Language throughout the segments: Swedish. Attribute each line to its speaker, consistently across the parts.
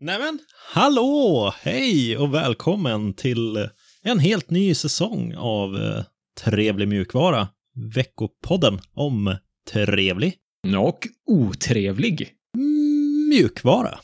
Speaker 1: Nämen, hallå! Hej och välkommen till eh, en helt ny säsong av eh, Trevlig mjukvara. Veckopodden om trevlig
Speaker 2: Mm, Och otrevlig.
Speaker 1: mjukvara.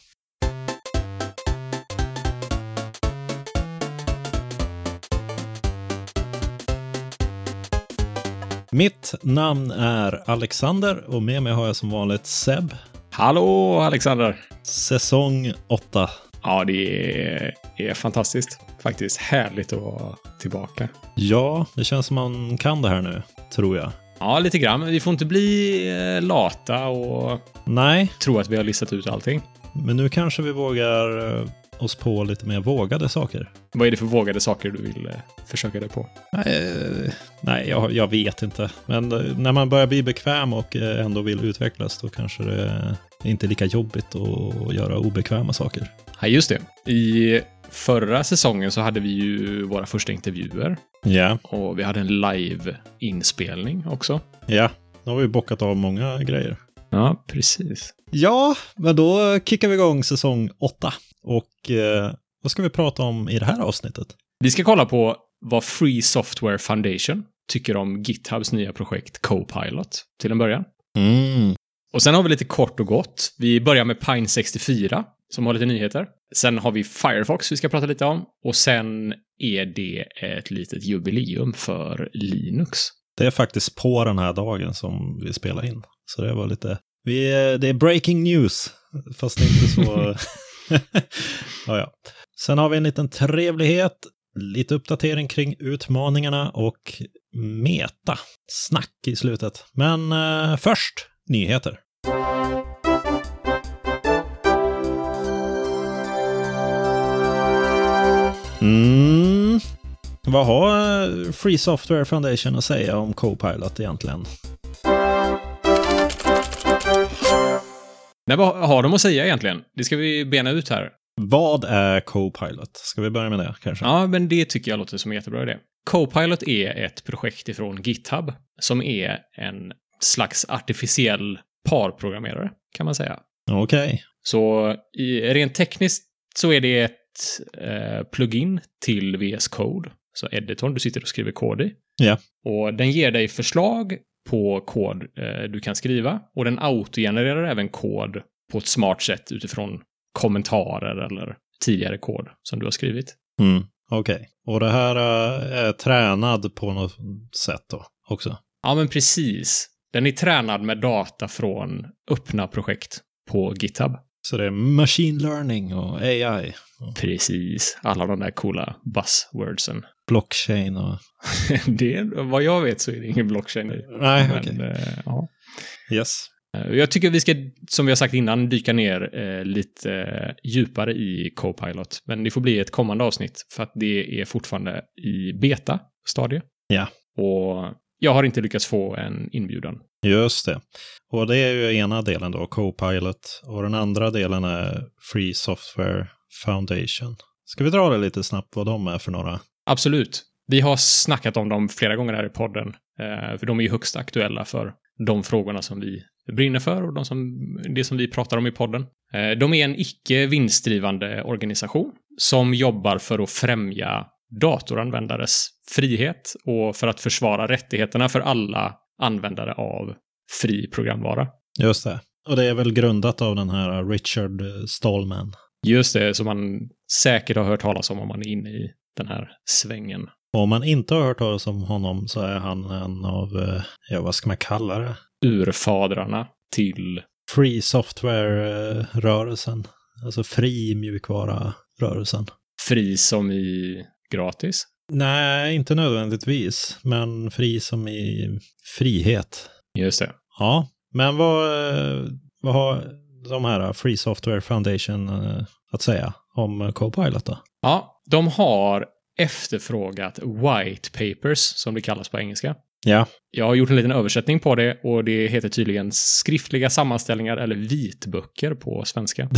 Speaker 1: Mitt namn är Alexander och med mig har jag som vanligt Seb.
Speaker 2: Hallå Alexander!
Speaker 1: Säsong 8.
Speaker 2: Ja, det är, är fantastiskt. Faktiskt härligt att vara tillbaka.
Speaker 1: Ja, det känns som man kan det här nu, tror jag.
Speaker 2: Ja, lite grann. Men vi får inte bli eh, lata och
Speaker 1: Nej,
Speaker 2: tro att vi har listat ut allting.
Speaker 1: men nu kanske vi vågar eh, oss på lite mer vågade saker.
Speaker 2: Vad är det för vågade saker du vill eh, försöka dig på?
Speaker 1: Nej, eh, nej jag, jag vet inte. Men eh, när man börjar bli bekväm och eh, ändå vill utvecklas, då kanske det är inte är lika jobbigt att göra obekväma saker.
Speaker 2: Ja, just det. I förra säsongen så hade vi ju våra första intervjuer
Speaker 1: Ja,
Speaker 2: och vi hade en live-inspelning också.
Speaker 1: ja. Nu har vi bockat av många grejer.
Speaker 2: Ja, precis.
Speaker 1: Ja, men då kickar vi igång säsong 8. Och eh, vad ska vi prata om i det här avsnittet?
Speaker 2: Vi ska kolla på vad Free Software Foundation tycker om GitHubs nya projekt Copilot till en början.
Speaker 1: Mm.
Speaker 2: Och sen har vi lite kort och gott. Vi börjar med Pine64 som har lite nyheter. Sen har vi Firefox vi ska prata lite om. Och sen är det ett litet jubileum för Linux.
Speaker 1: Det är faktiskt på den här dagen som vi spelar in. Så det var lite... Vi, eh, det är breaking news, fast det är inte så... ja, ja. Sen har vi en liten trevlighet, lite uppdatering kring utmaningarna och meta. Snack i slutet. Men eh, först, nyheter. Mm. Vad har eh, Free Software Foundation att säga om Copilot egentligen?
Speaker 2: Nej, vad har de att säga egentligen? Det ska vi bena ut här.
Speaker 1: Vad är Copilot? Ska vi börja med det kanske?
Speaker 2: Ja, men det tycker jag låter som en jättebra idé. Copilot är ett projekt ifrån GitHub som är en slags artificiell parprogrammerare kan man säga.
Speaker 1: Okej.
Speaker 2: Så i, rent tekniskt så är det ett eh, plugin till VS Code, så editorn du sitter och skriver kod i.
Speaker 1: Ja.
Speaker 2: Och den ger dig förslag på kod eh, du kan skriva och den autogenererar även kod på ett smart sätt utifrån kommentarer eller tidigare kod som du har skrivit.
Speaker 1: Mm. Okej. Och det här eh, är tränad på något sätt då också?
Speaker 2: Ja, men precis. Den är tränad med data från öppna projekt på GitHub.
Speaker 1: Så det är machine learning och AI,
Speaker 2: Precis. Alla de där coola buzzwordsen.
Speaker 1: blockchain och...
Speaker 2: Det, vad jag vet så är det ingen blockchain.
Speaker 1: Nej, okej.
Speaker 2: Men, eh, ja.
Speaker 1: Yes.
Speaker 2: Eh, Jag tycker vi ska, som vi har sagt innan, dyka ner eh, lite eh, djupare i Copilot. Men det får bli ett kommande avsnitt för att det är fortfarande i beta-stadie.
Speaker 1: Ja.
Speaker 2: Och jag har inte lyckats få en inbjudan.
Speaker 1: Just det. Och det är ju ena delen då, Copilot. Och den andra delen är Free Software Foundation. Ska vi dra det lite snabbt vad de är för några?
Speaker 2: Absolut. Vi har snackat om dem flera gånger här i podden, eh, för de är ju högst aktuella för de frågorna som vi brinner för och de som, det som vi pratar om i podden. Eh, De är en icke vinstdrivande organisation som jobbar för att främja datoranvändares frihet och för att försvara rättigheterna för alla användare av fri programvara.
Speaker 1: Just det. Och det är väl grundat av den här Richard eh, Stallman.
Speaker 2: Just det, som man säkert har hört talas om om man är inne i den här svängen.
Speaker 1: Och om man inte har hört talas om honom så är han en av, eh, ja vad ska man kalla det?
Speaker 2: Urfadrarna till
Speaker 1: Free software-rörelsen. Alltså fri mjukvara-rörelsen.
Speaker 2: Fri som i gratis.
Speaker 1: Nej, inte nödvändigtvis, men fri som i frihet.
Speaker 2: Just det.
Speaker 1: Ja, men vad, eh, vad har de här eh, Free Software Foundation eh, att säga om eh, Copilot då?
Speaker 2: Ja, de har efterfrågat white papers, som det kallas på engelska.
Speaker 1: Ja.
Speaker 2: Jag har gjort en liten översättning på det och det heter tydligen skriftliga sammanställningar eller vitböcker på svenska.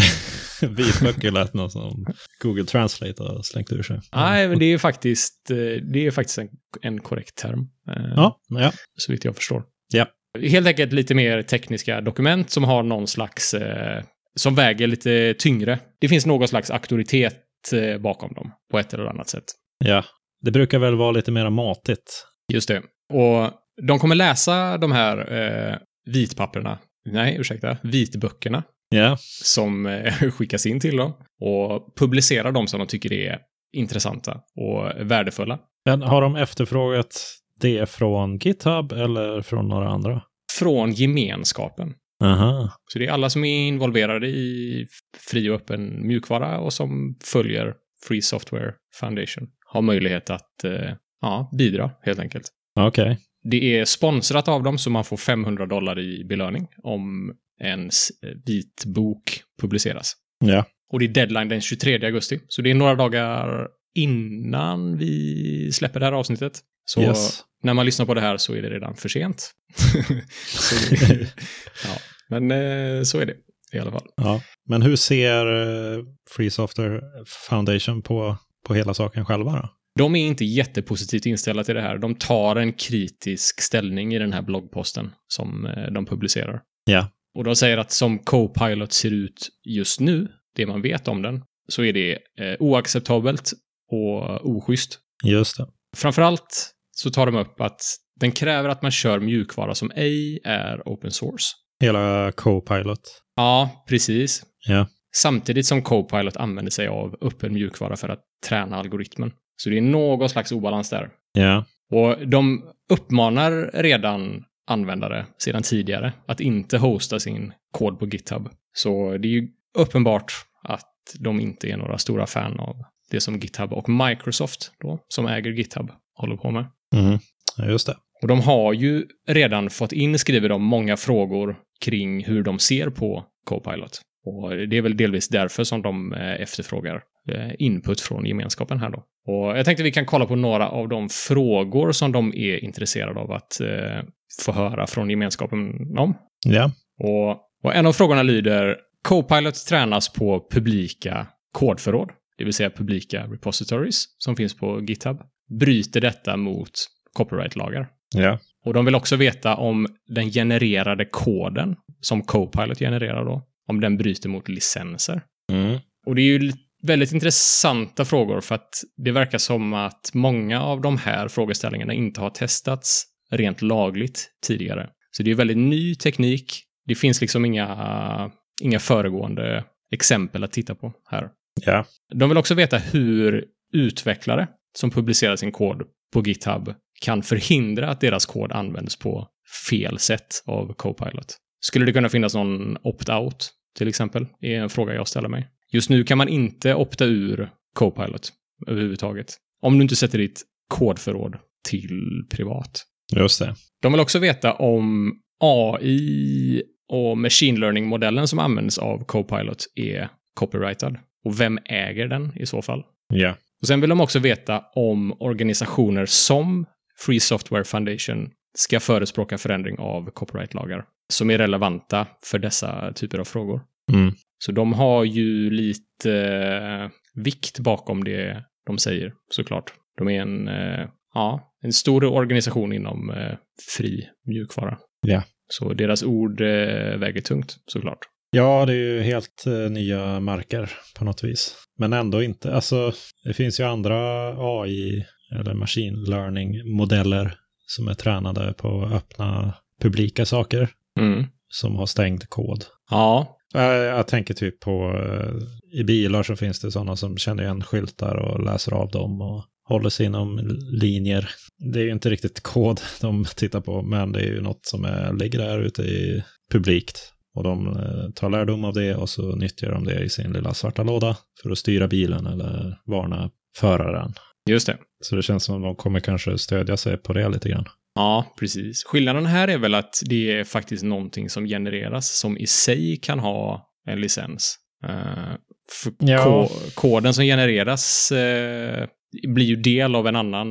Speaker 1: Vitböcker lät något som Google Translate har slängt ur sig.
Speaker 2: Nej, men det är faktiskt, eh, det är faktiskt en, en korrekt term. eh,
Speaker 1: Ja, ja.
Speaker 2: Så vitt jag förstår.
Speaker 1: Ja.
Speaker 2: Helt enkelt lite mer tekniska dokument som har någon slags eh, som väger lite tyngre. Det finns någon slags auktoritet eh, bakom dem på ett eller annat sätt.
Speaker 1: Ja, det brukar väl vara lite mera matigt.
Speaker 2: Just det. Och de kommer läsa de här eh, vitpapperna, nej ursäkta, vitböckerna
Speaker 1: Ja,
Speaker 2: som eh, skickas in till dem och publicerar dem som de tycker är intressanta och värdefulla.
Speaker 1: men har de efterfrågat det från GitHub eller från några andra?
Speaker 2: Från gemenskapen.
Speaker 1: Aha,
Speaker 2: Så det är alla som är involverade i fri och öppen mjukvara och som följer Free Software Foundation har möjlighet att eh, ja, bidra helt enkelt.
Speaker 1: okej.
Speaker 2: Det är sponsrat av dem så man får 500 dollar i belöning om ens vit bok publiceras.
Speaker 1: Ja.
Speaker 2: Och det är deadline den 23 augusti, så det är några dagar innan vi släpper det här avsnittet. Så
Speaker 1: Yes.
Speaker 2: när man lyssnar på det här så är det redan för sent. så, ja. Men eh, så är det i alla fall.
Speaker 1: Ja. Men hur ser eh, Free Software Foundation på, på hela saken själva då?
Speaker 2: De är inte jättepositivt inställda till det här. De tar en kritisk ställning i den här bloggposten som eh, de publicerar.
Speaker 1: Ja.
Speaker 2: Och de säger att som Copilot ser ut just nu, det man vet om den, så är det eh, oacceptabelt och oschysst.
Speaker 1: Just det.
Speaker 2: Framförallt så tar de upp att den kräver att man kör mjukvara som ej är open source.
Speaker 1: Hela Copilot.
Speaker 2: Ja, precis.
Speaker 1: Ja.
Speaker 2: Samtidigt som Copilot använder sig av öppen mjukvara för att träna algoritmen. Så det är någon slags obalans där.
Speaker 1: Ja,
Speaker 2: Och de uppmanar redan användare sedan tidigare att inte hosta sin kod på GitHub. Så det är ju uppenbart att de inte är några stora fan av det som GitHub och Microsoft, då, som äger GitHub, håller på med.
Speaker 1: mm. Ja, just det.
Speaker 2: Och de har ju redan fått in, skriver de, många frågor kring hur de ser på Copilot. Och det är väl delvis därför som de eh, efterfrågar eh, input från gemenskapen här då. Och jag tänkte vi kan kolla på några av de frågor som de är intresserade av att eh, få höra från gemenskapen om.
Speaker 1: Ja,
Speaker 2: Och, och en av frågorna lyder Copilot tränas på publika kodförråd, det vill säga publika repositories som finns på GitHub. Bryter detta mot copyrightlagar?
Speaker 1: ja.
Speaker 2: Och de vill också veta om den genererade koden som Copilot genererar då, om den bryter mot licenser.
Speaker 1: Mm.
Speaker 2: Och det är ju li- väldigt intressanta frågor för att det verkar som att många av de här frågeställningarna inte har testats rent lagligt tidigare. Så det är ju väldigt ny teknik. Det finns liksom inga, inga föregående exempel att titta på här.
Speaker 1: Ja.
Speaker 2: De vill också veta hur utvecklare som publicerar sin kod på GitHub kan förhindra att deras kod används på fel sätt av Copilot. Skulle det kunna finnas någon opt-out, till exempel, är en fråga jag ställer mig. Just nu kan man inte opta ur Copilot överhuvudtaget. Om du inte sätter ditt kodförråd till privat.
Speaker 1: Just det.
Speaker 2: De vill också veta om AI och machine learning-modellen som används av Copilot är copyrightad. Och vem äger den i så fall?
Speaker 1: Ja.
Speaker 2: Och sen vill de också veta om organisationer som Free Software Foundation ska förespråka förändring av copyrightlagar som är relevanta för dessa typer av frågor.
Speaker 1: Mm.
Speaker 2: Så de har ju lite eh, vikt bakom det de säger, såklart. De är en, eh, ja, en stor organisation inom eh, fri mjukvara.
Speaker 1: Ja.
Speaker 2: Så deras ord eh, väger tungt, såklart.
Speaker 1: Ja, det är ju helt eh, nya marker på något vis. Men ändå inte. Alltså, det finns ju andra AI eller machine learning-modeller som är tränade på öppna publika saker
Speaker 2: Mm.
Speaker 1: som har stängd kod.
Speaker 2: Ja,
Speaker 1: Eh, Jag tänker typ på eh, i bilar så finns det sådana som känner igen skyltar och läser av dem och håller sig inom linjer. Det är ju inte riktigt kod de tittar på, men det är ju något som är, ligger där ute i publikt. Och de eh, tar lärdom av det och så nyttjar de det i sin lilla svarta låda för att styra bilen eller varna föraren.
Speaker 2: just det.
Speaker 1: Så det känns som att de kommer kanske stödja sig på det lite grann.
Speaker 2: Ja, precis. Skillnaden här är väl att det är faktiskt någonting som genereras som i sig kan ha en licens. Eh, för
Speaker 1: Ja.
Speaker 2: ko koden som genereras eh, blir ju del av en annan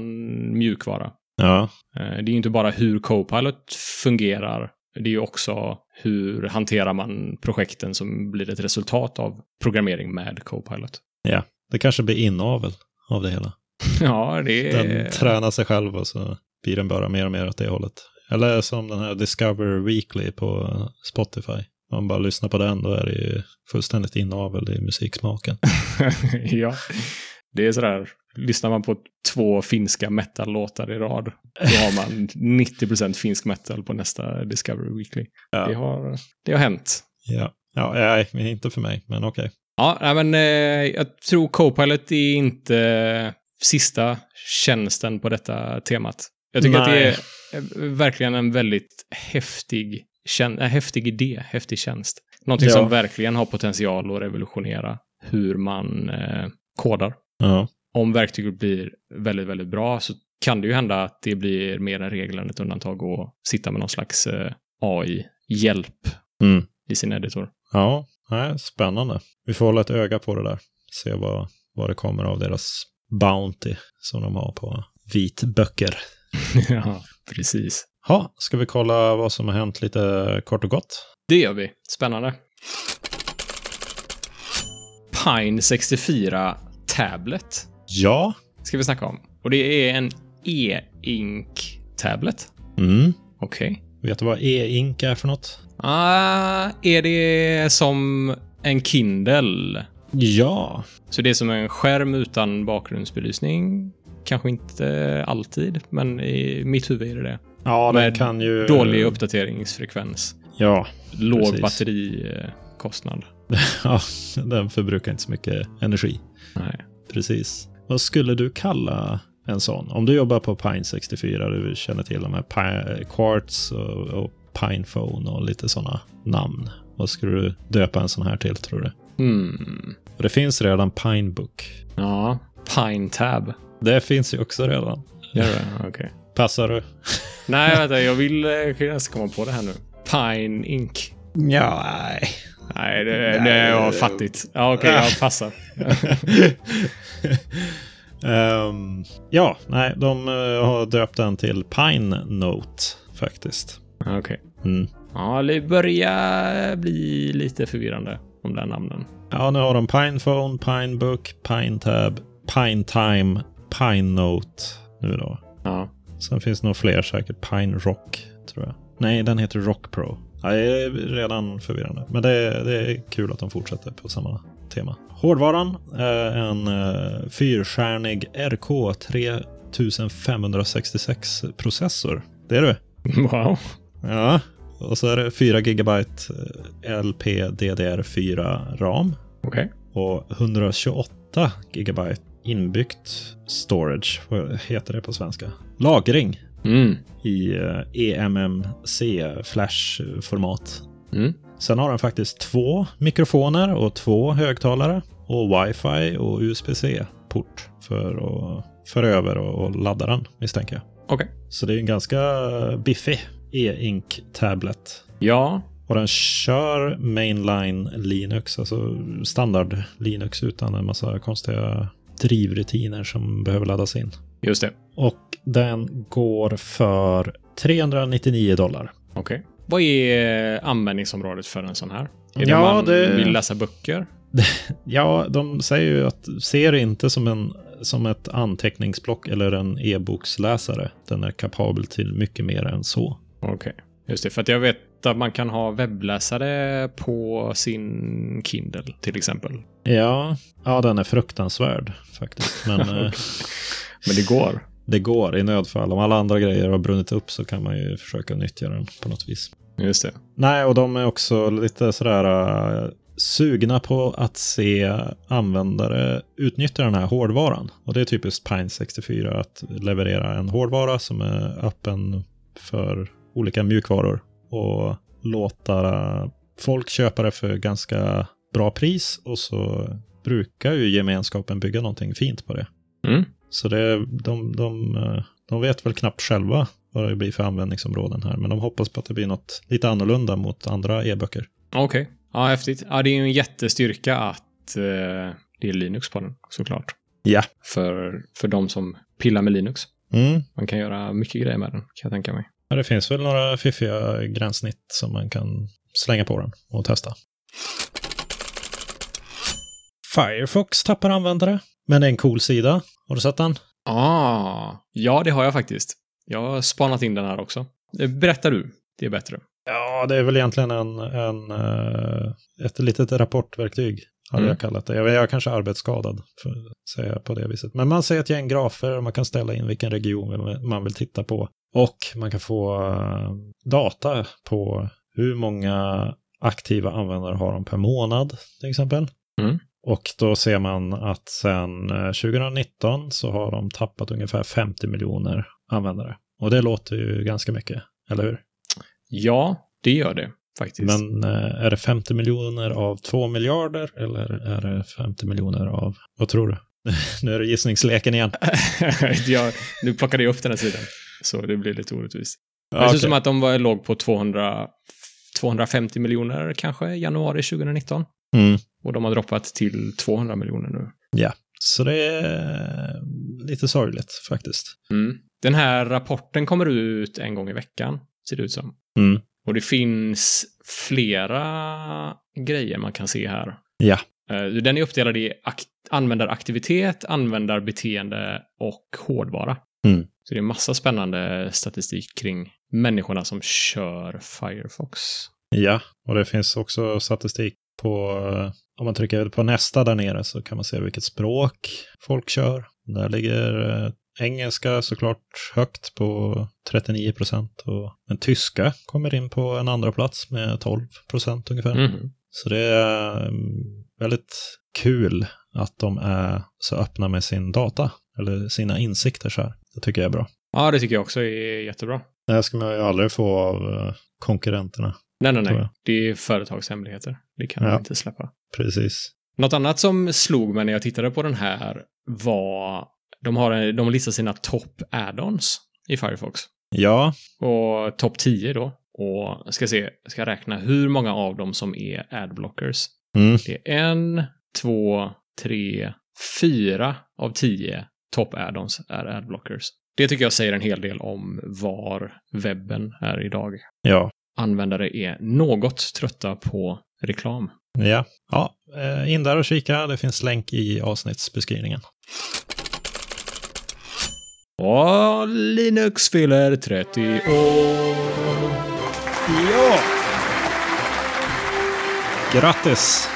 Speaker 2: mjukvara.
Speaker 1: Ja,
Speaker 2: Eh, det är ju inte bara hur Copilot fungerar, det är ju också hur hanterar man projekten som blir ett resultat av programmering med Copilot.
Speaker 1: det kanske blir inavel av det hela.
Speaker 2: Ja, det är...
Speaker 1: Den tränar sig själv och så blir den bara mer och mer åt det hållet. Eller som den här Discover Weekly på Spotify. man bara lyssnar på den, då är det ju fullständigt inavel i musiksmaken.
Speaker 2: ja, det är sådär. Lyssnar man på två finska metal-låtar i rad, då har man 90% finsk metal på nästa Discovery Weekly.
Speaker 1: Ja.
Speaker 2: Det, har, det har hänt.
Speaker 1: Ja, ja nej, inte för mig, men okej.
Speaker 2: Ja, nej, men eh, jag tror Copilot är inte sista tjänsten på detta temat. Jag tycker att det
Speaker 1: Nej.
Speaker 2: är eh, verkligen en väldigt häftig, tjän- äh, häftig idé, häftig tjänst. Någonting
Speaker 1: Ja.
Speaker 2: som verkligen har potential att revolutionera hur man eh, kodar.
Speaker 1: Ja.
Speaker 2: Om verktyget blir väldigt, väldigt bra så kan det ju hända att det blir mer en regel än ett undantag och sitta med någon slags eh, AI-hjälp
Speaker 1: Mm.
Speaker 2: i sin editor.
Speaker 1: Ja, nej, spännande. Vi får hålla ett öga på det där. Se vad, vad det kommer av deras Bounty som de har på vitböcker.
Speaker 2: ja, precis.
Speaker 1: Ha, ska vi kolla vad som har hänt lite kort och gott?
Speaker 2: Det gör vi. Spännande. Pine 64 Tablet
Speaker 1: Ja.
Speaker 2: ska vi snacka om. Och det är en e-ink tablet.
Speaker 1: Mm.
Speaker 2: Okej.
Speaker 1: Vet du vad e-ink är för något?
Speaker 2: Ah, är det som en Kindle?
Speaker 1: Ja.
Speaker 2: Så det är som en skärm utan bakgrundsbelysning? Kanske inte alltid, men i mitt huvud är det det.
Speaker 1: Ja, den
Speaker 2: Med
Speaker 1: kan ju...
Speaker 2: Dålig uppdateringsfrekvens.
Speaker 1: Ja.
Speaker 2: Låg
Speaker 1: Precis.
Speaker 2: batterikostnad.
Speaker 1: ja, den förbrukar inte så mycket energi.
Speaker 2: Nej.
Speaker 1: Precis. Vad skulle du kalla en sån? Om du jobbar på Pine 64, du känner till de här Pi- Quartz och, och Pinephone och lite sådana namn. Vad skulle du döpa en sån här till tror du?
Speaker 2: Hmm.
Speaker 1: Och det finns redan Pinebook.
Speaker 2: Ja. Pine Tab.
Speaker 1: Det finns ju också redan.
Speaker 2: Gör det? Okej.
Speaker 1: Passar du?
Speaker 2: Nej, vänta. Jag vill eh, jag kan nästan komma på det här nu. Pine Inc.
Speaker 1: Ja, nej.
Speaker 2: Nej, det,
Speaker 1: Nej,
Speaker 2: det är jag
Speaker 1: det-
Speaker 2: fattigt. Ja, okej. jag passar.
Speaker 1: Ehm, ja, nej, de eh, har döpt den till Pine Note faktiskt.
Speaker 2: Okej.
Speaker 1: Mm.
Speaker 2: Ja, det börjar bli lite förvirrande. De där namnen.
Speaker 1: Ja, nu har de Pinephone, Pinebook, Pinetab, Pinetime, Pinenote nu då.
Speaker 2: Ja.
Speaker 1: Sen finns det nog fler säkert. Pine Rock tror jag. Nej, den heter Rock Pro. Ja, det är redan förvirrande, men det är, det är kul att de fortsätter på samma tema. Hårdvaran är en eh, fyrstjärnig RK 3566 processor. Det är du.
Speaker 2: Wow.
Speaker 1: Ja, och så är det eh, 4 GB LPDDR4 ram
Speaker 2: Okej.
Speaker 1: och 128 gigabyte inbyggt storage, vad heter det på svenska? Lagring
Speaker 2: Mm.
Speaker 1: i eh, EMMC Flash-format.
Speaker 2: Mm.
Speaker 1: Sen har den faktiskt två mikrofoner och två högtalare och wifi och USB-C-port för att föra över och och ladda den misstänker jag.
Speaker 2: Okej.
Speaker 1: Så det är en ganska biffig e-ink tablet.
Speaker 2: Ja.
Speaker 1: Och den kör mainline Linux, alltså standard Linux utan en massa konstiga drivrutiner som behöver laddas in.
Speaker 2: Just det.
Speaker 1: Och den går för 399 dollar.
Speaker 2: Okej. Vad är eh, användningsområdet för en sån här? Är det
Speaker 1: Ja,
Speaker 2: om man
Speaker 1: det-
Speaker 2: vill läsa böcker?
Speaker 1: Ja, de säger ju att ser det inte som, en, som ett anteckningsblock eller en e-boksläsare. Den är kapabel till mycket mer än så.
Speaker 2: Okej. Just det, för att jag vet att man kan ha webbläsare på sin Kindle till exempel.
Speaker 1: Ja, ja den är fruktansvärd faktiskt. Men eh,
Speaker 2: Men det går.
Speaker 1: det går i nödfall. Om alla andra grejer har brunnit upp så kan man ju försöka nyttja den på något vis.
Speaker 2: Just det.
Speaker 1: Nej, och de är också lite sådär eh, sugna på att se användare utnyttja den här hårdvaran. Och det är typiskt Pine 64 att leverera en hårdvara som är öppen för olika mjukvaror och låta folk köpa det för ganska bra pris och så brukar ju gemenskapen bygga någonting fint på det.
Speaker 2: Mm.
Speaker 1: Så det, de, de, eh, de vet väl knappt själva vad det blir för användningsområden här, men de hoppas på att det blir något lite annorlunda mot andra e-böcker.
Speaker 2: Okej. Ja, häftigt. Ja, det är ju en jättestyrka att eh, det är Linux på den, såklart.
Speaker 1: Ja.
Speaker 2: För, för de som pillar med Linux.
Speaker 1: Mm.
Speaker 2: Man kan göra mycket grejer med den, kan jag tänka mig.
Speaker 1: Ja, det finns väl några fiffiga gränssnitt som man kan slänga på den och testa. Firefox tappar användare, men det är en cool sida. Har du sett den?
Speaker 2: Ah, ja, det har jag faktiskt. Jag har spanat in den här också. Eh, Berätta du. Det är bättre.
Speaker 1: Ja, det är väl egentligen en, en, eh, ett litet rapportverktyg, hade
Speaker 2: Mm.
Speaker 1: jag kallat det. Jag jag är kanske arbetsskadad, för att säga på det viset. Men man ser ett gäng grafer och man kan ställa in vilken region man vill titta på. Och man kan få eh, data på hur många aktiva användare har de per månad, till exempel.
Speaker 2: Mm.
Speaker 1: Och då ser man att sedan eh, 2019 så har de tappat ungefär 50 miljoner användare. Och det låter ju ganska mycket, eller hur?
Speaker 2: Ja, det gör det faktiskt.
Speaker 1: Men eh, är det 50 miljoner av 2 miljarder eller är det 50 miljoner av, vad tror du? nu är det gissningsleken igen.
Speaker 2: jag, nu plockade jag upp den här sidan, så det blir lite orättvist.
Speaker 1: Ah,
Speaker 2: Men Det ser ut som att de var, låg på 200, 250 miljoner kanske i januari 2019.
Speaker 1: Mm.
Speaker 2: Och de har droppat till 200 miljoner nu.
Speaker 1: Så det är eh, lite sorgligt faktiskt.
Speaker 2: Mm. Den här rapporten kommer ut en gång i veckan, ser det ut som.
Speaker 1: Mm.
Speaker 2: Och det finns flera grejer man kan se här.
Speaker 1: Ja.
Speaker 2: Eh, Den är uppdelad i akt- användaraktivitet, användarbeteende och hårdvara.
Speaker 1: Mm.
Speaker 2: Så det är massa spännande statistik kring människorna som kör Firefox.
Speaker 1: Ja, och det finns också statistik på, eh, om man trycker på nästa där nere så kan man se vilket språk folk kör. Där ligger eh, engelska såklart högt på 39 procent. Men tyska kommer in på en andra plats med 12 procent ungefär.
Speaker 2: Mhm.
Speaker 1: Så det är mm, väldigt kul att de är så öppna med sin data, eller sina insikter så här. Det tycker jag är bra.
Speaker 2: Ja, det tycker jag också är jättebra.
Speaker 1: Det här ska man ju aldrig få av eh, konkurrenterna.
Speaker 2: Nej, nej,
Speaker 1: Tror
Speaker 2: nej.
Speaker 1: jag.
Speaker 2: Det är företagshemligheter. Det kan
Speaker 1: Ja.
Speaker 2: man inte släppa.
Speaker 1: Precis.
Speaker 2: Något annat som slog mig när jag tittade på den här var de har de listar sina topp add-ons i Firefox.
Speaker 1: Ja,
Speaker 2: Och topp 10 då. Och ska se, ska räkna hur många av dem som är adblockers.
Speaker 1: mm.
Speaker 2: Det är en, två, tre, fyra av tio topp add-ons är adblockers. Det tycker jag säger en hel del om var webben är idag.
Speaker 1: ja,
Speaker 2: Användare är något trötta på reklam.
Speaker 1: ja. ja. eh, In där och kika, det finns länk i avsnittsbeskrivningen.
Speaker 2: Och Linux fyller 30 år.
Speaker 1: Ja! Grattis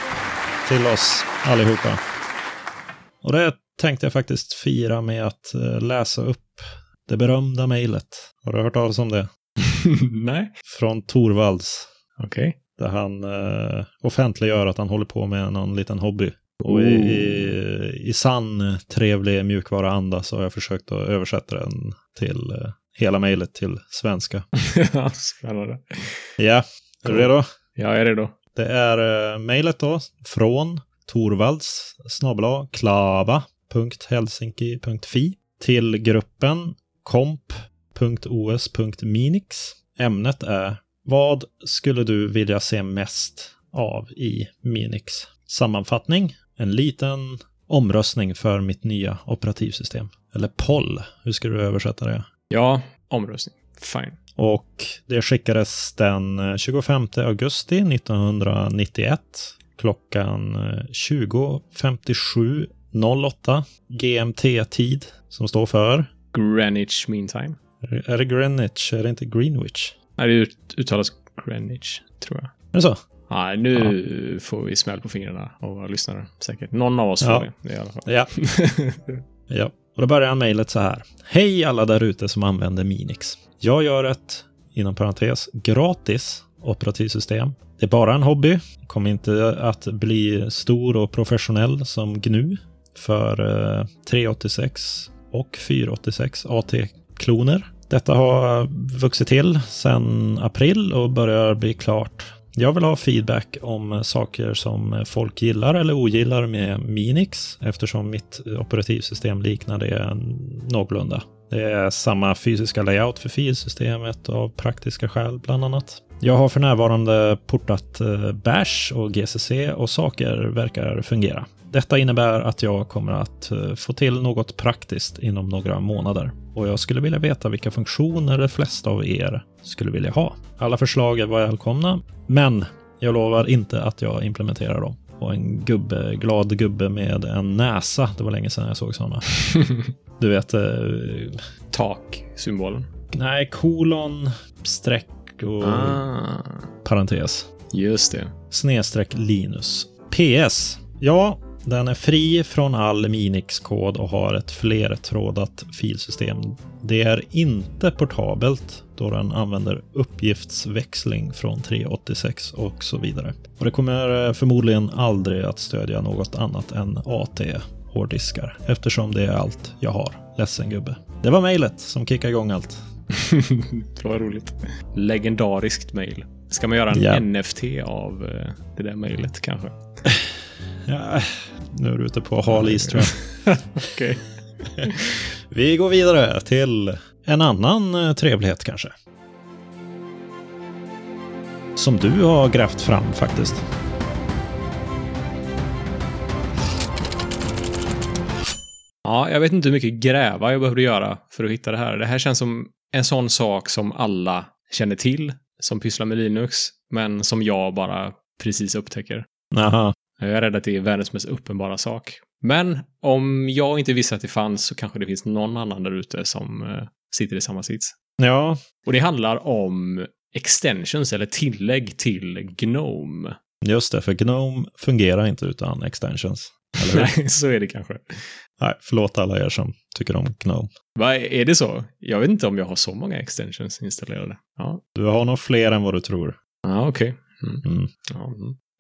Speaker 1: till oss allihopa. Och det tänkte jag faktiskt fira med att eh, läsa upp det berömda mejlet. Har du hört talas om det?
Speaker 2: Nej.
Speaker 1: Från Torvalds.
Speaker 2: Okej.
Speaker 1: Där han eh, offentliggör att han håller på med någon liten hobby. Och i, i, i sann trevlig mjukvaruanda så har jag försökt att översätta den till eh, hela mejlet till svenska.
Speaker 2: Ja, Spännande.
Speaker 1: Ja, är du
Speaker 2: Cool.
Speaker 1: redo?
Speaker 2: Jag är redo.
Speaker 1: Det är eh, mejlet då från torvalds snabel-a, klava.helsinki.fi till gruppen komp.os.minix. Ämnet är Vad skulle du vilja se mest av i Minix? Sammanfattning. En liten omröstning för mitt nya operativsystem. Eller poll. Hur skulle du översätta det?
Speaker 2: Ja, omröstning. Fine.
Speaker 1: Och det skickades den 25 augusti 1991 klockan eh, 20.57.08 GMT-tid som står för,
Speaker 2: Greenwich Mean Time.
Speaker 1: är det Greenwich? Är det inte Greenwich?
Speaker 2: Nej, det ut- uttalas Greenwich, tror jag.
Speaker 1: Är det så?
Speaker 2: Nej, nu får vi smäll på fingrarna av våra lyssnare. Säkert. Någon av oss
Speaker 1: Ja.
Speaker 2: får det i alla fall.
Speaker 1: Ja. Ja, och då börjar han mejlet så här. Hej alla där ute som använder Minix. Jag gör ett, inom parentes, gratis operativsystem. Det är bara en hobby. Kommer inte att bli stor och professionell som GNU för eh, 386 och 486 AT-kloner. Detta har vuxit till sedan april och börjar bli klart. Jag vill ha feedback om saker som folk gillar eller ogillar med Minix eftersom mitt operativsystem liknar det någorlunda. Det är samma fysiska layout för filsystemet av praktiska skäl bland annat. Jag har för närvarande portat eh, Bash och GCC och saker verkar fungera. Detta innebär att jag kommer att eh, få till något praktiskt inom några månader och jag skulle vilja veta vilka funktioner de flesta av er skulle vilja ha. Alla förslag är välkomna, men jag lovar inte att jag implementerar dem. Och en gubbe, glad gubbe med en näsa. Det var länge sedan jag såg sådana. Du vet, eh,
Speaker 2: Tak-symbolen.
Speaker 1: Nej, kolon, streck, snedstreck och
Speaker 2: Ah,
Speaker 1: parentes.
Speaker 2: just det.
Speaker 1: snedstreck Linus. PS. Ja, den är fri från all Minix-kod och har ett flertrådat filsystem. Det är inte portabelt då den använder uppgiftsväxling från 386 och så vidare. Och det kommer eh, förmodligen aldrig att stödja något annat än AT-hårddiskar eftersom det är allt jag har. Ledsen gubbe. Det var mejlet som kickade igång allt.
Speaker 2: det var roligt. Legendariskt mejl. Ska man göra en
Speaker 1: Ja.
Speaker 2: NFT av eh, det där mejlet kanske?
Speaker 1: Ja, nu är du ute på hal is tror jag.
Speaker 2: Okej.
Speaker 1: Vi går vidare till en annan eh, trevlighet kanske. Som du har grävt fram faktiskt.
Speaker 2: Ja, jag vet inte hur mycket gräva jag behövde göra för att hitta det här. Det här känns som en sån sak som alla känner till som pysslar med Linux, men som jag bara precis upptäcker.
Speaker 1: Aha.
Speaker 2: Jag är rädd att det är världens mest uppenbara sak. Men om jag inte visste att det fanns så kanske det finns någon annan där ute som eh, sitter i samma sits.
Speaker 1: Ja,
Speaker 2: Och det handlar om extensions eller tillägg till GNOME.
Speaker 1: just det, för Gnome fungerar inte utan extensions. Eller hur?
Speaker 2: Nej, så är det kanske.
Speaker 1: Nej, förlåt alla er som tycker om Gnome.
Speaker 2: Va, är det så? Jag vet inte om jag har så många extensions installerade. Ja,
Speaker 1: Du har nog fler än vad du tror.
Speaker 2: ja okej.
Speaker 1: Mm.
Speaker 2: Ja.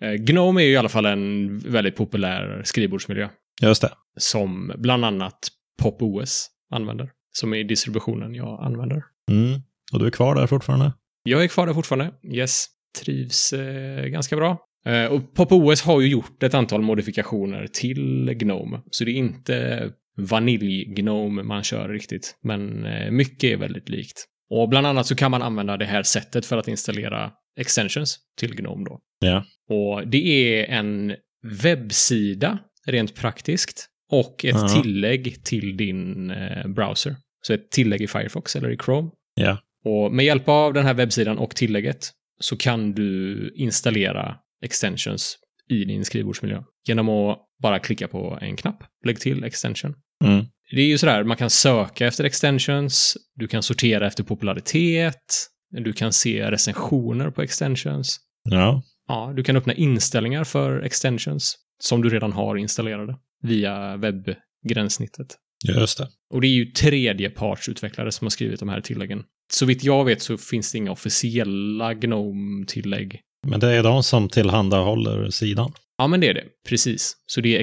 Speaker 2: Eh, Gnome är ju i alla fall en väldigt populär skrivbordsmiljö
Speaker 1: Just det.
Speaker 2: som bland annat PopOS använder, som är distributionen jag använder.
Speaker 1: Mm. Och du är kvar där fortfarande?
Speaker 2: Jag är kvar där fortfarande. Yes, trivs eh, ganska bra. Eh, och PopOS har ju gjort ett antal modifikationer till Gnome, så det är inte vanilj-Gnome man kör riktigt, men eh, mycket är väldigt likt. Och bland annat så kan man använda det här sättet för att installera extensions till Gnome då.
Speaker 1: Ja.
Speaker 2: Och det är en webbsida rent praktiskt och ett
Speaker 1: Ja.
Speaker 2: tillägg till din eh, browser. Så ett tillägg i Firefox eller i Chrome.
Speaker 1: Ja.
Speaker 2: Och med hjälp av den här webbsidan och tillägget så kan du installera extensions i din skrivbordsmiljö genom att bara klicka på en knapp. Lägg till extension.
Speaker 1: Mm.
Speaker 2: Det är ju sådär, man kan söka efter extensions, du kan sortera efter popularitet, du kan se recensioner på extensions.
Speaker 1: Ja.
Speaker 2: Ja, du kan öppna inställningar för extensions som du redan har installerade via webbgränssnittet.
Speaker 1: Just det.
Speaker 2: Och det är ju tredjepartsutvecklare som har skrivit de här tilläggen. Så vitt jag vet så finns det inga officiella GNOME-tillägg.
Speaker 1: Men det är de som tillhandahåller sidan.
Speaker 2: Ja, men det är det. Precis. Så det är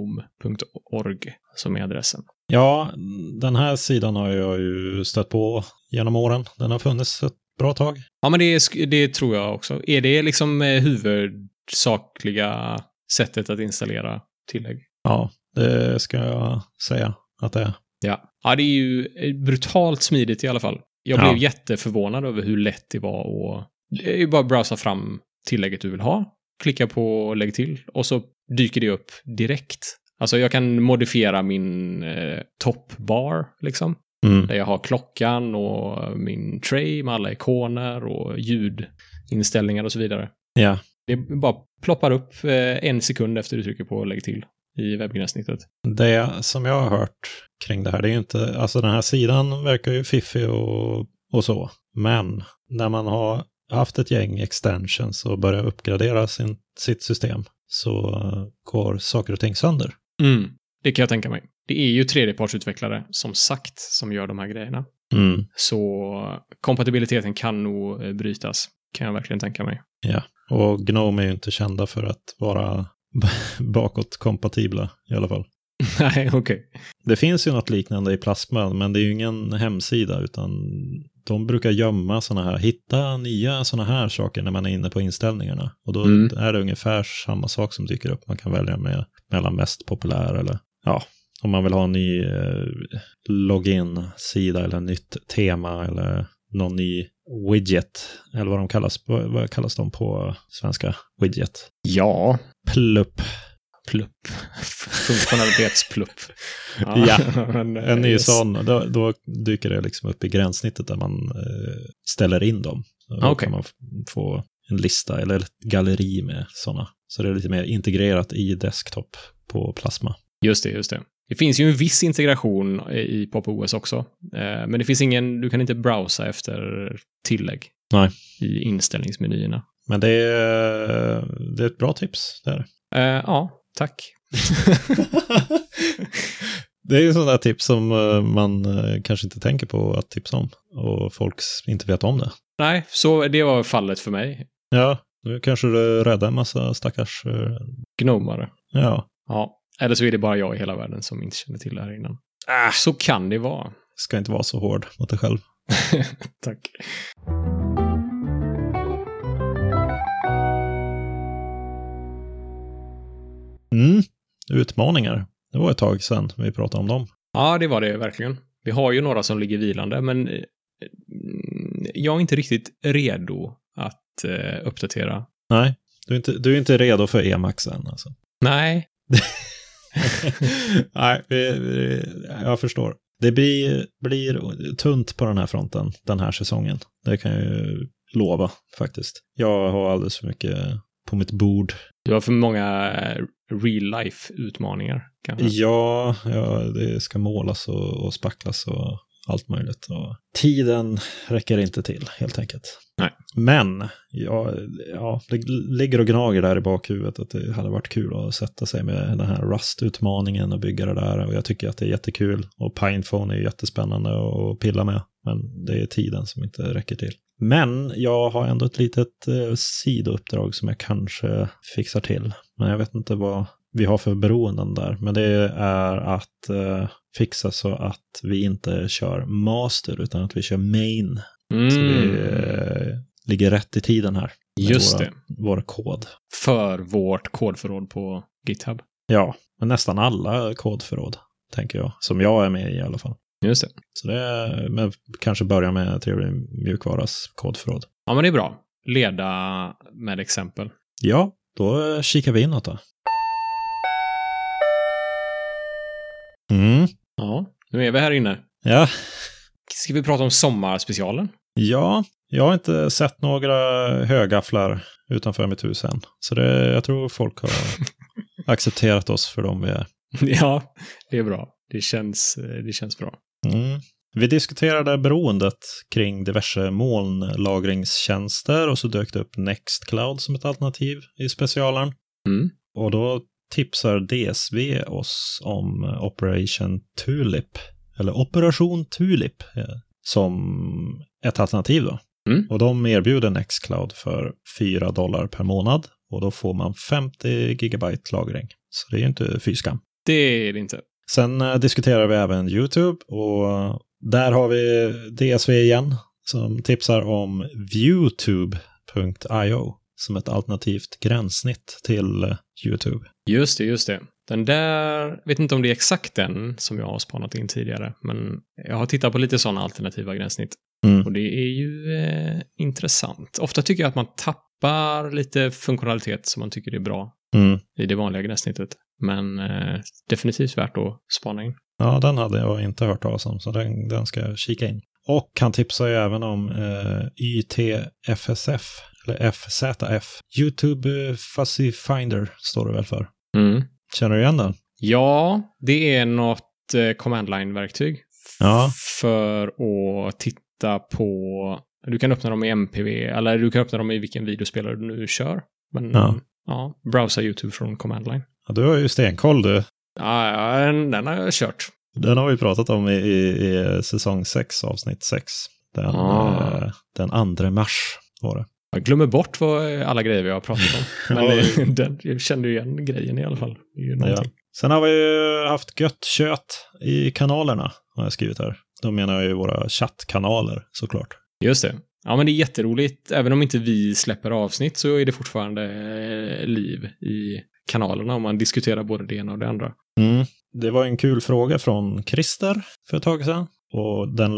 Speaker 2: extensions.gnome.org som är adressen.
Speaker 1: Ja, den här sidan har jag ju stött på genom åren. Den har funnits ett bra tag.
Speaker 2: Ja, men det, är, sk- det tror jag också. Är det liksom eh, huvudsakliga sättet att installera tillägg?
Speaker 1: Ja, det ska jag säga att det är.
Speaker 2: Ja. ja, det är ju eh, brutalt smidigt i alla fall. Jag
Speaker 1: Ja.
Speaker 2: blev jätteförvånad över hur lätt det var att det är ju bara att browsa fram tillägget du vill ha, klicka på lägg till och så dyker det upp direkt. Alltså jag kan modifiera min eh, toppbar liksom, där jag har klockan och min tray med alla ikoner och ljudinställningar och så vidare.
Speaker 1: Ja.
Speaker 2: Det bara ploppar upp eh, en sekund efter du trycker på lägg till i webbgränssnittet.
Speaker 1: Det som jag har hört kring det här, det är ju inte, alltså den här sidan verkar ju fiffig och, och så. Men när man har haft ett gäng extensions och börjar uppgradera sin, sitt system så eh, går saker och ting sönder.
Speaker 2: Mm, det kan jag tänka mig. Det är ju tredjepartsutvecklare, som sagt, som gör de här grejerna. Mm. Så kompatibiliteten kan nog eh, brytas, kan jag verkligen tänka mig.
Speaker 1: Och Gnome är ju inte kända för att vara bakåtkompatibla i alla fall.
Speaker 2: Nej, okej.
Speaker 1: Det finns ju något liknande i Plasma, men det är ju ingen hemsida, utan de brukar gömma sådana här, hitta nya sådana här saker när man är inne på inställningarna. Och då
Speaker 2: Mm.
Speaker 1: är det ungefär samma sak som dyker upp. Man kan välja med, mellan mest populär eller, ja, om man vill ha en ny eh, login-sida eller nytt tema eller någon ny widget, eller vad de kallas, på- vad kallas de på svenska? Widget.
Speaker 2: Ja.
Speaker 1: Plupp.
Speaker 2: Plupp. Funktionalitetsplupp.
Speaker 1: Ja,
Speaker 2: men, eh,
Speaker 1: En ny
Speaker 2: yes.
Speaker 1: sån, då, då dyker det liksom upp i gränssnittet där man eh, ställer in dem. Då
Speaker 2: Ah, okej.
Speaker 1: kan man f- få en lista eller ett galleri med sådana. Så det är lite mer integrerat i desktop på Plasma.
Speaker 2: Just det, just det. Det finns ju en viss integration i PopOS också, eh, men det finns ingen, du kan inte browsa efter tillägg
Speaker 1: Nej.
Speaker 2: i inställningsmenyerna.
Speaker 1: Men det är, det är ett bra tips. Där.
Speaker 2: Eh, ja, tack.
Speaker 1: det är ju sådana där tips som eh, man eh, kanske inte tänker på att tipsa om. Och folk s- inte vet om det.
Speaker 2: Nej, så det var fallet för mig.
Speaker 1: Ja, nu kanske du räddar en massa stackars... eh,
Speaker 2: Gnomare.
Speaker 1: Ja,
Speaker 2: Ja, eller så är det bara jag i hela världen som inte känner till det här innan. Ah, så kan det vara.
Speaker 1: ska inte vara så hård mot dig själv.
Speaker 2: Tack.
Speaker 1: Mm. Utmaningar. Det var ett tag sedan vi pratade om dem.
Speaker 2: Ja, det var det verkligen. Vi har ju några som ligger vilande, men eh, mm, jag är inte riktigt redo att eh, uppdatera.
Speaker 1: Nej, du är inte, du är inte redo för EMAX än alltså.
Speaker 2: Nej,
Speaker 1: Nej, vi- vi- jag förstår. Det blir, blir tunt på den här fronten den här säsongen. Det kan jag ju lova faktiskt. Jag har alldeles för mycket på mitt bord.
Speaker 2: du har för många eh, real life-utmaningar. kanske.
Speaker 1: Ja, ja det ska målas och, och spacklas och allt möjligt. Och tiden räcker inte till helt enkelt.
Speaker 2: Nej.
Speaker 1: Men ja, ja, det ligger och gnager där i bakhuvudet att det hade varit kul att sätta sig med den här Rust-utmaningen och bygga det där. Och jag tycker att det är jättekul och Pinephone är jättespännande att pilla med. Men det är tiden som inte räcker till. Men jag har ändå ett litet eh, sidouppdrag som jag kanske fixar till. Men jag vet inte vad vi har för beroenden där. Men det är att eh, fixa så att vi inte kör master utan att vi kör main.
Speaker 2: Mm,
Speaker 1: Så vi eh, ligger rätt i tiden här. med
Speaker 2: Just
Speaker 1: våra,
Speaker 2: det.
Speaker 1: Vår kod.
Speaker 2: För vårt kodförråd på GitHub.
Speaker 1: Ja, men nästan alla kodförråd tänker jag. Som jag är med i i alla fall.
Speaker 2: Just det.
Speaker 1: Så det är, men kanske börja med trevlig mjukvaras kodförråd.
Speaker 2: Ja, men det är bra. Leda med exempel.
Speaker 1: Ja, då eh, kikar vi inåt då. Mm.
Speaker 2: Ja, nu är vi här inne.
Speaker 1: Ja.
Speaker 2: Ska vi prata om sommarspecialen?
Speaker 1: ja, jag har inte sett några högafflar utanför mitt hus än. Så det, jag tror folk har accepterat oss för dem vi är.
Speaker 2: ja, det är bra. Det känns, eh, det känns bra.
Speaker 1: Mm. Vi diskuterade beroendet kring diverse molnlagringstjänster och så dök det upp Nextcloud som ett alternativ i specialen.
Speaker 2: Mm.
Speaker 1: Och då tipsar DSV oss om eh, Operation Tulip, eller Operation Tulip, eh, som ett alternativ då.
Speaker 2: Mm.
Speaker 1: Och de erbjuder Nextcloud för 4 dollar per månad och då får man 50 gigabyte lagring. Så det är ju inte fy skam.
Speaker 2: Det är det inte.
Speaker 1: Sen eh, diskuterar vi även YouTube och där har vi DSV igen som tipsar om viewtube.io som ett alternativt gränssnitt till eh, YouTube.
Speaker 2: Just det, just det. Den där, vet inte om det är exakt den som jag har spanat in tidigare, men jag har tittat på lite sådana alternativa gränssnitt.
Speaker 1: Mm.
Speaker 2: Och det är ju eh, intressant. Ofta tycker jag att man tappar lite funktionalitet som man tycker är bra
Speaker 1: Mm.
Speaker 2: i det vanliga gränssnittet. Men eh, definitivt värt att spana in.
Speaker 1: Ja, den hade jag inte hört talas om, så den, den ska jag kika in. Och han tipsar ju även om eh, YTFSF, eller FZF. YouTube eh, Fuzzy Finder står det väl för. Känner du igen den?
Speaker 2: Mm. Ja, det är något eh, command line-verktyg
Speaker 1: Ja.
Speaker 2: för att titta på... Du kan öppna dem i MPV, eller du kan öppna dem i vilken videospelare du nu kör. Men
Speaker 1: Ja.
Speaker 2: ja, browsa YouTube från command line.
Speaker 1: Ja, du har ju stenkoll du.
Speaker 2: Ja, ja, den den har jag kört.
Speaker 1: Den har vi pratat om i, i, i säsong 6, avsnitt 6. Den,
Speaker 2: Ah.
Speaker 1: eh, den 2 mars var det.
Speaker 2: Jag glömmer bort vad eh, alla grejer vi har pratat om. Men
Speaker 1: Ja.
Speaker 2: eh, den, jag kände ju igen grejen i alla fall. Det är ju
Speaker 1: Ja.
Speaker 2: någonting.
Speaker 1: Sen har vi ju haft gött kött i kanalerna, har jag skrivit här. Då menar jag ju våra chattkanaler såklart.
Speaker 2: Just det. Ja, men det är jätteroligt. Även om inte vi släpper avsnitt så är det fortfarande eh, liv i kanalerna om man diskuterar både det ena och det andra.
Speaker 1: Mm. Det var en kul fråga från Christer för ett tag sedan. Och den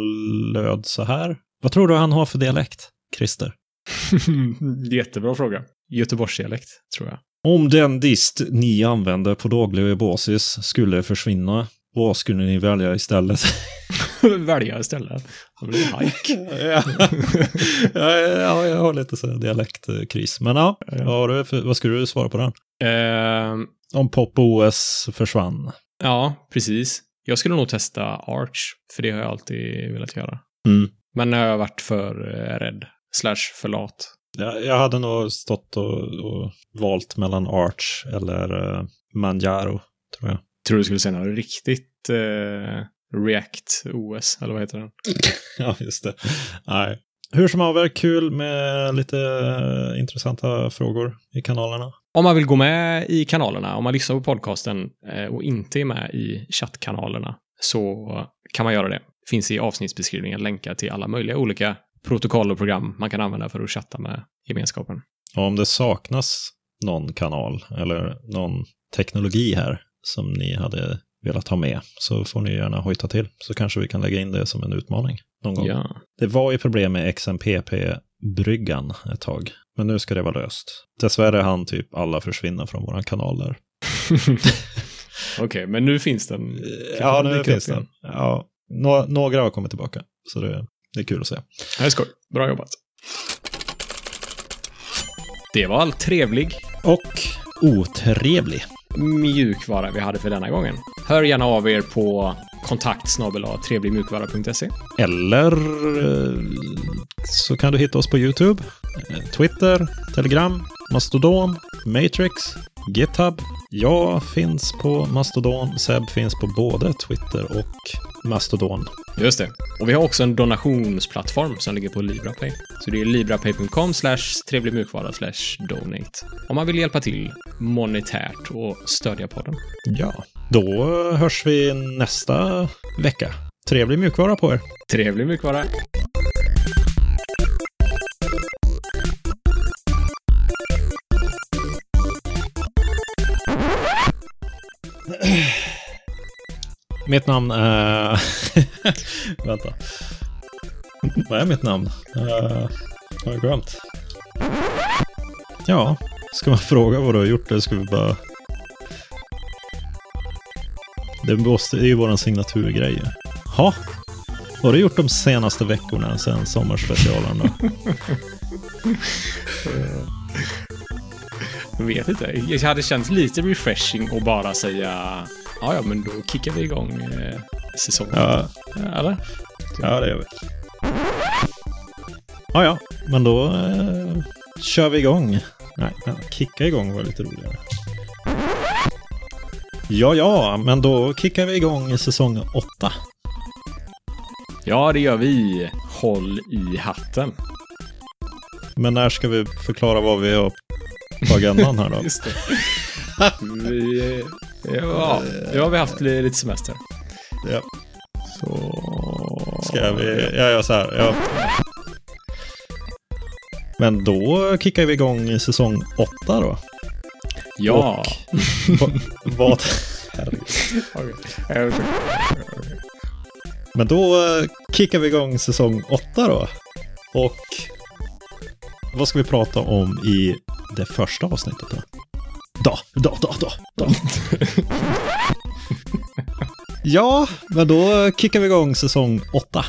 Speaker 1: löd så här. Vad tror du han har för dialekt, Christer?
Speaker 2: Jättebra fråga. Göteborgsdialekt, tror jag.
Speaker 1: Om den dist ni använder på daglig basis skulle försvinna, vad skulle ni välja istället?
Speaker 2: Välja istället. Han blir en hajk.
Speaker 1: ja. ja, ja, jag har lite så här dialektkris. Men ja, vad, har du för, vad skulle du svara på den?
Speaker 2: Ehm,
Speaker 1: Om Pop OS försvann.
Speaker 2: Ja, precis. Jag skulle nog testa Arch, för det har jag alltid velat göra.
Speaker 1: Mm.
Speaker 2: Men när jag har varit för eh, rädd, slash för lat.
Speaker 1: Jag, jag hade nog stått och, och valt mellan Arch eller eh, Manjaro, tror jag.
Speaker 2: Tror du skulle säga något riktigt eh, React OS, eller vad heter den?
Speaker 1: Ja, just det. Nej. Hur som haver, kul med lite eh, intressanta frågor i kanalerna.
Speaker 2: Om man vill gå med i kanalerna, om man lyssnar på podcasten eh, och inte är med i chattkanalerna så kan man göra det. Finns i avsnittsbeskrivningen länkar till alla möjliga olika protokoll och program man kan använda för att chatta med gemenskapen.
Speaker 1: Och om det saknas någon kanal eller någon teknologi här som ni hade velat ha med så får ni gärna hojta till så kanske vi kan lägga in det som en utmaning någon gång.
Speaker 2: Ja.
Speaker 1: Det var ju problem med XMPP-bryggan ett tag, men nu ska det vara löst. Dessvärre hann typ alla försvinna från våran kanal där.
Speaker 2: Okej, men nu finns den.
Speaker 1: Ja,
Speaker 2: den
Speaker 1: nu
Speaker 2: dyka upp
Speaker 1: finns den.
Speaker 2: igen?
Speaker 1: Ja, nå- några har kommit tillbaka, så det, det är kul att se.
Speaker 2: Det är skoj. Bra jobbat. Det var allt trevlig
Speaker 1: Och otrevlig.
Speaker 2: mjukvara vi hade för denna gången. Hör gärna av er på kontakt trevligmjukvara.se.
Speaker 1: Eller eh, så kan du hitta oss på YouTube, eh, Twitter, Telegram, Mastodon, Matrix, GitHub. Jag finns på Mastodon, Seb finns på både Twitter och Mastodon.
Speaker 2: Just det. Och vi har också en donationsplattform som ligger på LibraPay. Så det är librapay.com slash trevligmjukvara slash donate. Om man vill hjälpa till monetärt och stödja podden.
Speaker 1: Ja, då hörs vi nästa vecka. Trevlig mjukvara på er.
Speaker 2: Trevlig mjukvara!
Speaker 1: Mitt namn är... Vänta. Vad är mitt namn? Eh, har jag glömt? Ja, ska man fråga vad du har gjort eller ska vi bara... Det måste- det är ju våran signaturgrej. ju. Ha? Vad har du gjort de senaste veckorna sen sommarspecialen då?
Speaker 2: Jag vet inte. Jag hade känts lite refreshing att bara säga ja, ja, men då kickar vi igång eh, säsongen.
Speaker 1: ja,
Speaker 2: Eller?
Speaker 1: ja, det gör vi. Ja, ja, men då eh, kör vi igång. Nej, men kicka igång var lite roligare. Ja, ja, men då kickar vi igång säsong åtta.
Speaker 2: Ja, det gör vi. Håll i hatten.
Speaker 1: Men när ska vi förklara vad vi har på agendan här då?
Speaker 2: Just det. vi, eh, ja, ja, vi har haft li- lite semester.
Speaker 1: Ja,
Speaker 2: Så...
Speaker 1: ska vi? Ja, ja, så här. Ja. Men då kickar vi igång säsong åtta då.
Speaker 2: Ja.
Speaker 1: Va- Vad? Herregud.
Speaker 2: Okej. Eh, okej.
Speaker 1: Men då eh, kickar vi igång säsong åtta då. Och vad ska vi prata om i det första avsnittet då? Då, då, då, då, då. ja, men då kickar vi igång säsong åtta.